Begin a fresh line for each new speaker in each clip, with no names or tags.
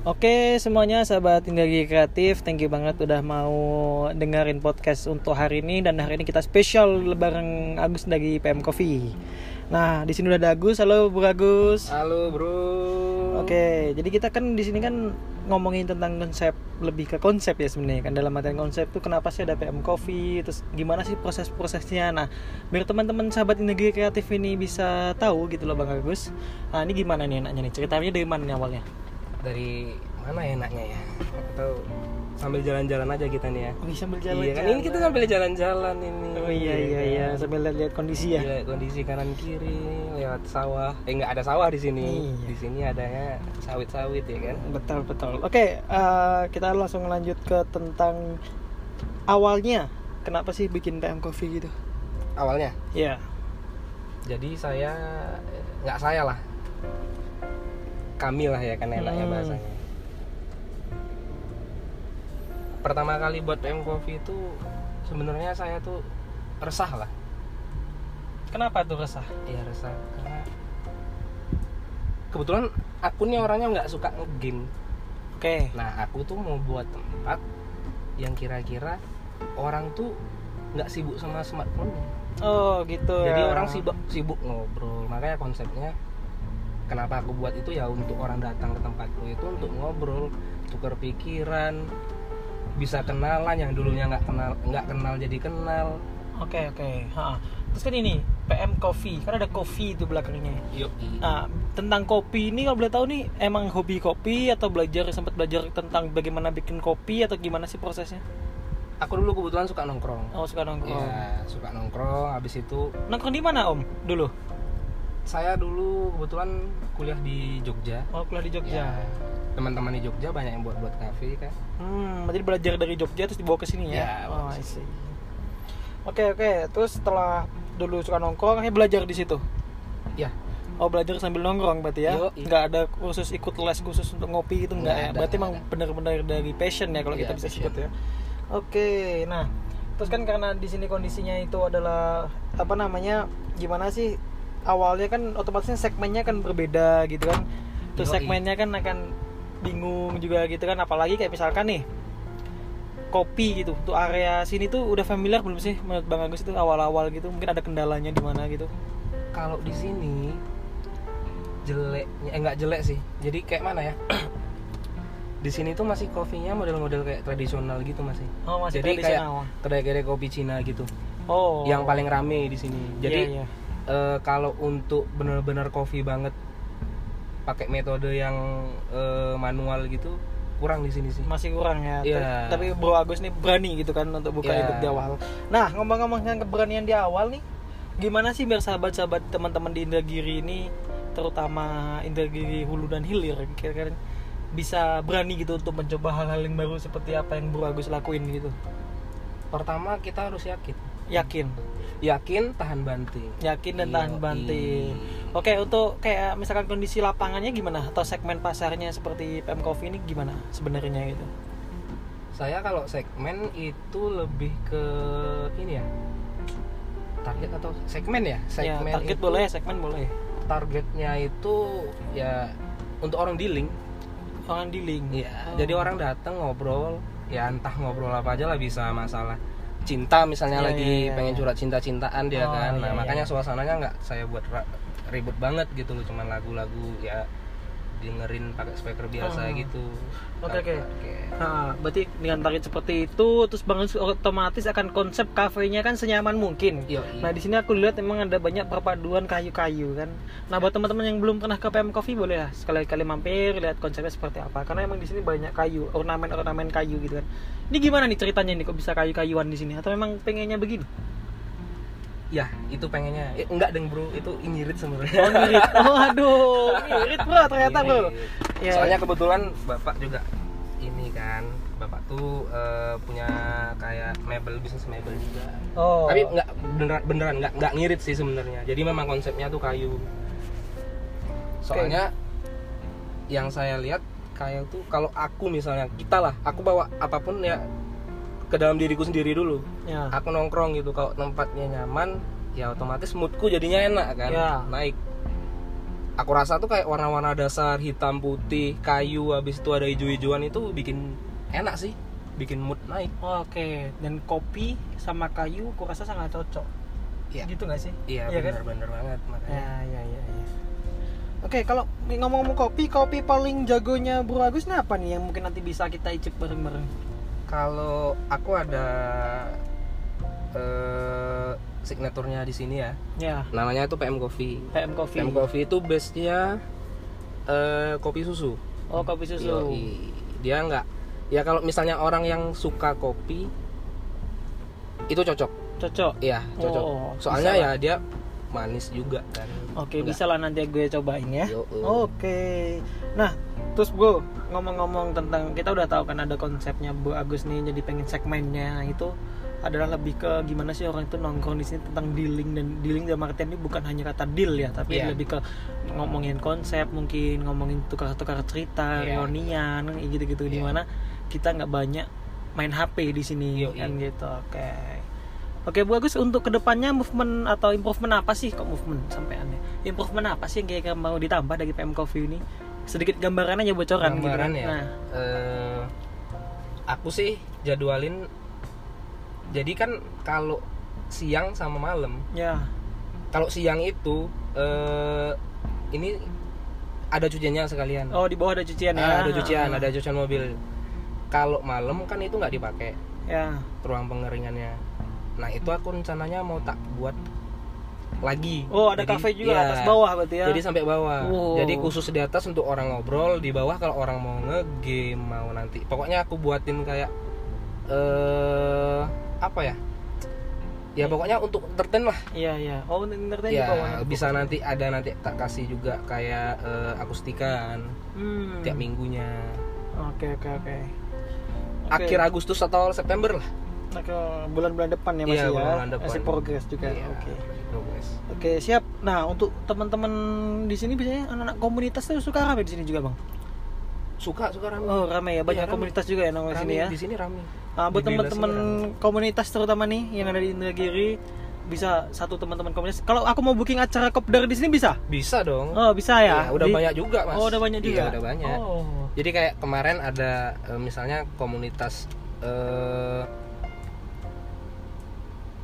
Oke semuanya sahabat Indagi Kreatif, thank you banget udah mau dengerin podcast untuk hari ini dan hari ini kita spesial bareng Agus dari PM Coffee. Nah di sini udah ada Agus, halo Bu Agus.
Halo bro.
Oke, jadi kita kan di sini kan ngomongin tentang konsep lebih ke konsep ya sebenarnya kan dalam artian konsep tuh kenapa sih ada PM Coffee, terus gimana sih proses-prosesnya. Nah, biar teman-teman sahabat Indagi Kreatif ini bisa tahu gitu loh Bang Agus. Nah, ini gimana nih enaknya nih? Ceritanya dari mana nih awalnya?
Dari mana ya enaknya ya? Atau sambil jalan-jalan aja kita nih ya.
Oke, sambil
Iya kan ini kita sambil jalan-jalan ini.
Oh iya iya iya sambil lihat kondisi ya.
Iya, kondisi kanan kiri lewat sawah. Eh nggak ada sawah di sini.
Iya.
Di sini adanya sawit-sawit ya kan.
Betul betul. Oke, eh, kita langsung lanjut ke tentang awalnya kenapa sih bikin PM Coffee gitu?
Awalnya.
Ya.
Jadi saya nggak saya lah. Kami lah ya kan enaknya
Hmm.
bahasanya. Pertama kali buat PM Coffee itu sebenarnya saya tuh resah lah.
Kenapa tuh resah?
Iya resah karena kebetulan akunnya orangnya nggak suka ngegame.
Oke.
Nah aku tuh mau buat tempat yang kira-kira orang tuh nggak sibuk sama smartphone.
Oh gitu ya.
Jadi orang sibuk sibuk ngobrol. Makanya konsepnya kenapa aku buat itu ya untuk orang datang ke tempatku itu untuk ngobrol, tukar pikiran, bisa kenalan yang dulunya nggak kenal nggak kenal jadi kenal.
Oke oke. Ha. Terus kan ini PM Coffee kan ada kopi itu belakangnya.
Yuk.
Nah, tentang kopi ini kalau boleh tahu nih emang hobi kopi atau belajar sempat belajar tentang bagaimana bikin kopi atau gimana sih prosesnya?
Aku dulu kebetulan suka nongkrong.
Oh suka nongkrong.
Iya, suka nongkrong. Habis itu
Nongkrong di mana Om? Dulu.
saya dulu kebetulan kuliah di Jogja.
Oh kuliah di Jogja.
Ya, teman-teman di Jogja banyak yang buat-buat kafe kan.
Hmm, jadi belajar dari Jogja terus dibawa ke sini ya?
Ya,
oh,
bawa
I see. Oke oke, terus setelah dulu suka nongkrong, akhirnya belajar di situ.
Ya,
Oh belajar sambil nongkrong berarti ya?
Yoi.
Nggak ada khusus ikut les khusus untuk ngopi itu nggak
Nggak
ya?
ada,
Berarti
nggak
emang benar-benar dari passion ya kalau
Iya,
kita bisa
passion.
sebut ya. Oke, nah terus kan karena di sini kondisinya itu adalah apa namanya? Gimana sih? Awalnya kan otomatisnya segmennya kan berbeda gitu kan. Terus
Yoi.
segmennya kan akan bingung juga gitu kan apalagi kayak misalkan nih kopi gitu untuk area sini tuh udah familiar belum sih menurut Bang Agus itu awal-awal gitu mungkin ada kendalanya di mana gitu
kalau di sini jeleknya eh, nggak jelek sih. Jadi kayak mana ya? di sini tuh masih kopinya model-model kayak tradisional gitu masih.
oh masih
Jadi kayak
tradisional.
kedai-kedai kopi Cina gitu.
oh
Yang paling rame di sini. Jadi
Iya, iya.
eh, kalau untuk bener-bener kopi banget pakai metode yang eh, manual gitu kurang di sini sih.
masih kurang ya.
Iya.
Tapi- Tapi Bro Agus nih berani gitu kan untuk buka
Iya.
YouTube di awal. Nah, ngomong-ngomong tentang keberanian di awal nih, gimana sih biar sahabat-sahabat teman-teman di Indragiri ini terutama Indragiri Hulu dan Hilir kira-kira bisa berani gitu untuk mencoba hal-hal yang baru seperti apa yang Bro Agus lakuin gitu.
Pertama kita harus yakin.
Yakin,
Yakin tahan banting.
yakin dan tahan
Yoi.
banting.
iya.
Oke, untuk kayak misalkan kondisi lapangannya gimana atau segmen pasarnya seperti PM Coffee ini gimana sebenarnya gitu.
Saya kalau segmen itu lebih ke ini ya. Target atau segmen ya?
Ya,
Segmen
target
itu-
boleh, segmen boleh.
Targetnya itu ya untuk orang dealing.
Orang dealing.
Iya.
Oh.
Jadi orang datang ngobrol, ya entah ngobrol apa aja lah bisa masalah cinta misalnya
Iya,
lagi
iya, iya.
pengen curhat cinta-cintaan
Oh,
dia kan. Nah,
iya,
makanya
iya.
suasananya nggak saya buat ra- ribut banget gitu loh, cuman lagu-lagu ya dengerin pakai speaker biasa
Hmm.
gitu.
Oke, oke.
Oke.
Nah, berarti dengan target seperti itu, terus bangun otomatis akan konsep kafenya kan senyaman mungkin.
Yoi.
Nah di sini aku lihat emang ada banyak perpaduan kayu-kayu kan. Nah buat teman-teman yang belum pernah ke PM Coffee boleh lah sekali-kali mampir lihat konsepnya seperti apa. Karena emang di sini banyak kayu, ornamen-ornamen kayu gitu kan. Ini gimana nih ceritanya nih kok bisa kayu-kayuan di sini? Atau memang pengennya begini?
Ya, itu pengennya. Eh, enggak deng, Bro. Itu ngirit sebenarnya.
Oh ngirit, oh aduh, ngirit bro ternyata bro.
Ngirit.
Ya.
Iya, Soalnya kebetulan Bapak juga ini kan, Bapak tuh eh, punya kayak mebel bisnis mebel juga.
Oh.
Tapi enggak beneran beneran enggak enggak ngirit sih sebenarnya. Jadi memang konsepnya tuh kayu. Soalnya yang saya lihat kayu tuh kalau aku misalnya kita lah, aku bawa apapun ya ke dalam diriku sendiri dulu.
Ya.
Aku nongkrong gitu kalau tempatnya nyaman, ya otomatis moodku jadinya enak kan.
Ya.
Naik. aku rasa tuh kayak warna-warna dasar hitam putih kayu habis itu ada hijau-hijauan itu bikin enak sih bikin mood naik
Oke, dan kopi sama kayu kurasa sangat cocok.
Iya.
Gitu nggak sih?
iya
Iya kan?
bener-bener banget makanya
Ya, ya, ya, ya. Oke, kalau ngomong-ngomong kopi, kopi paling jagonya Bro Agus ini apa nih yang mungkin nanti bisa kita icip bareng-bareng?
kalau aku ada eh signaturnya di sini ya
Ya,
namanya itu PM Coffee
PM Coffee.
PM Coffee itu base nya eh kopi susu
Oh, kopi susu.
Yoi. dia nggak ya kalau misalnya orang yang suka kopi itu cocok
Cocok.
ya cocok
Oh,
soalnya
bisa
ya dia manis juga kan
Oke,
Nggak-
bisa lah nanti gue cobain ya.
Yoi.
Oke. Nah, terus Bro, ngomong-ngomong tentang kita udah tahu kan ada konsepnya Bu Agus nih jadi pengen segmennya Nah, itu adalah lebih ke gimana sih orang itu nongkrong di sini tentang dealing dan dealing dalam artian ini bukan hanya kata deal ya, tapi
Iya.
lebih ke ngomongin konsep mungkin ngomongin tukar-tukar cerita,
Iya.
reunian gitu-gitu
Iya.
dimana kita nggak banyak main HP di sini
Yoi.
kan gitu. Oke. Oke Bu Agus untuk kedepannya movement atau improvement apa sih kok movement sampai aneh improvement apa sih yang kira-kira mau ditambah dari PM Coffee ini sedikit gambaran aja bocoran gitu
Gambaran
kan.
ya.
nah
Eh, aku sih jadwalin jadi kan kalau siang sama malam
ya
kalau siang itu eh ini ada cuciannya sekalian
oh di bawah ada cucian ya
Ah, ada cucian ada cucian mobil kalau malam kan itu nggak dipakai
ya
ruang pengeringannya. Nah itu aku rencananya mau tak buat lagi.
oh ada
Jadi,
kafe juga
iya.
atas bawah berarti ya
Jadi sampai bawah.
Wow.
Jadi khusus di atas untuk orang ngobrol, di bawah kalau orang mau ngegame mau nanti. Pokoknya aku buatin kayak eh apa ya? Ya pokoknya untuk entertain lah.
iya iya oh entertain di
ya
bawah
bisa nanti ada nanti tak kasih juga kayak eh, akustikan
hmm.
tiap minggunya.
oke oke oke Oke.
Akhir Agustus atau September lah.
Oke, bulan-bulan depan ya
Iya,
masih ya
bulan-bulan depan.
masih progres juga
Iya,
oke
progres.
Oke siap. Nah untuk teman-teman di sini biasanya anak-anak komunitas tuh suka rame di sini juga bang.
Suka suka rame.
Oh rame ya banyak
Iya, rame.
komunitas juga ya nongol di
Rame,
sini ya.
Di sini rame.
Nah, buat
Di Bella
teman-teman
sendiri
komunitas terutama nih yang ada di Indragiri bisa satu teman-teman komunitas. Kalau aku mau booking acara kopdar di sini bisa?
Bisa dong.
Oh bisa ya.
Iya, udah
Di-
banyak juga mas.
Oh, udah banyak
Iya,
juga?
udah banyak.
Oh.
Jadi kayak kemarin ada eh, misalnya komunitas eh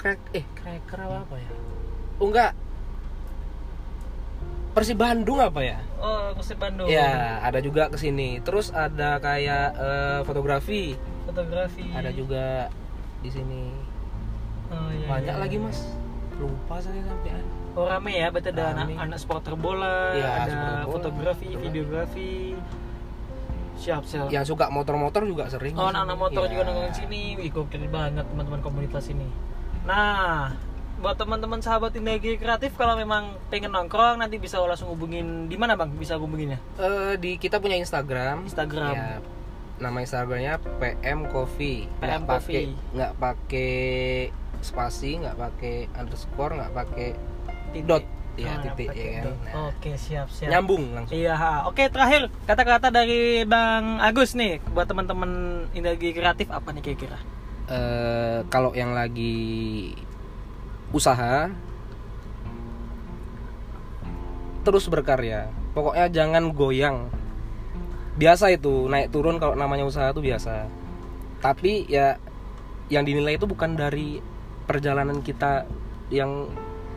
crack eh cracker apa, apa ya? Oh enggak. Persib Bandung apa ya?
Oh Persib Bandung.
Ya, ada juga ke sini. Terus ada kayak eh, fotografi,
Fotografi.
ada juga di sini.
Oh, iya,
Banyak
iya.
lagi, Mas. Lupa saya sampai.
Oh rame ya. Berarti ada
Rame.
anak-anak supporter bola.
Iya,
ada
supporter bola,
fotografi,
fotografi.
videografi. Siap siap.
Yang suka motor-motor juga sering.
Oh,
di
anak-anak
sini.
motor
Iya.
juga nongkrong di sini. Wih, gokil banget teman-teman komunitas ini. Nah, buat teman-teman sahabat energi kreatif kalau memang pengen nongkrong nanti bisa langsung hubungin di mana bang bisa hubunginnya
Eh, di kita punya Instagram.
Instagram
Ya, nama Instagramnya PM Coffee.
PM
Nggak pakai-
Coffee.
Nggak pakai spasi, nggak pakai underscore, nggak pakai
titik.
dot. Ya
Ah,
titik
pakai
ya kan.
dot. Oh,
Nah,
Oke siap siap.
Nyambung langsung.
Iya, ha. oke terakhir kata-kata dari Bang Agus nih buat teman-teman energi kreatif apa nih kira-kira?
Eh, kalau yang lagi usaha terus berkarya. Pokoknya jangan goyang. Biasa itu naik turun kalau namanya usaha itu biasa. Tapi ya yang dinilai itu bukan dari perjalanan kita yang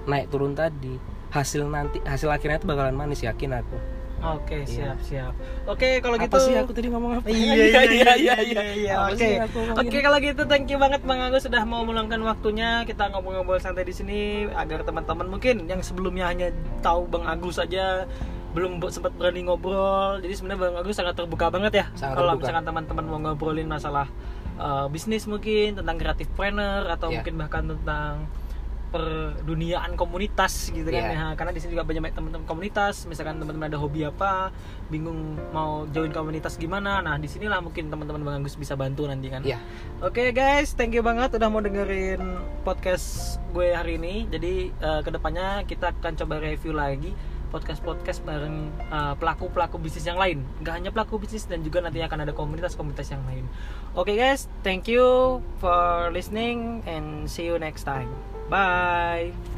naik turun tadi. Hasil nanti hasil akhirnya itu bakalan manis yakin aku.
Oke siap
Iya.
siap. Oke kalau
Apa
gitu.
sih aku tadi ngomong apa?
Iya, iya, iya, iya, iya, iya.
Apa
Oke.
sih aku ngomongin?
Oke kalau gitu thank you banget Bang Agus sudah mau meluangkan waktunya kita ngobrol-ngobrol santai di sini agar teman-teman mungkin yang sebelumnya hanya tahu Bang Agus saja belum be- sempat berani ngobrol jadi sebenarnya Bang Agus sangat terbuka banget ya
Sangat
kalau
terbuka.
misalkan teman-teman mau ngobrolin masalah uh, bisnis mungkin tentang kreatif planner atau
Iya.
mungkin bahkan tentang perduniaan komunitas gitu kan
Iya.
ya. karena di sini juga banyak teman-teman komunitas misalkan teman-teman ada hobi apa bingung mau join komunitas gimana nah disinilah mungkin teman-teman bang Agus bisa bantu nanti kan
Iya.
Oke guys, thank you banget udah mau dengerin podcast gue hari ini. Jadi eh, kedepannya kita akan coba review lagi podcast-podcast bareng eh, pelaku-pelaku bisnis yang lain. Gak hanya pelaku bisnis dan juga nanti akan ada komunitas-komunitas yang lain. Oke guys, thank you for listening and see you next time. Bye.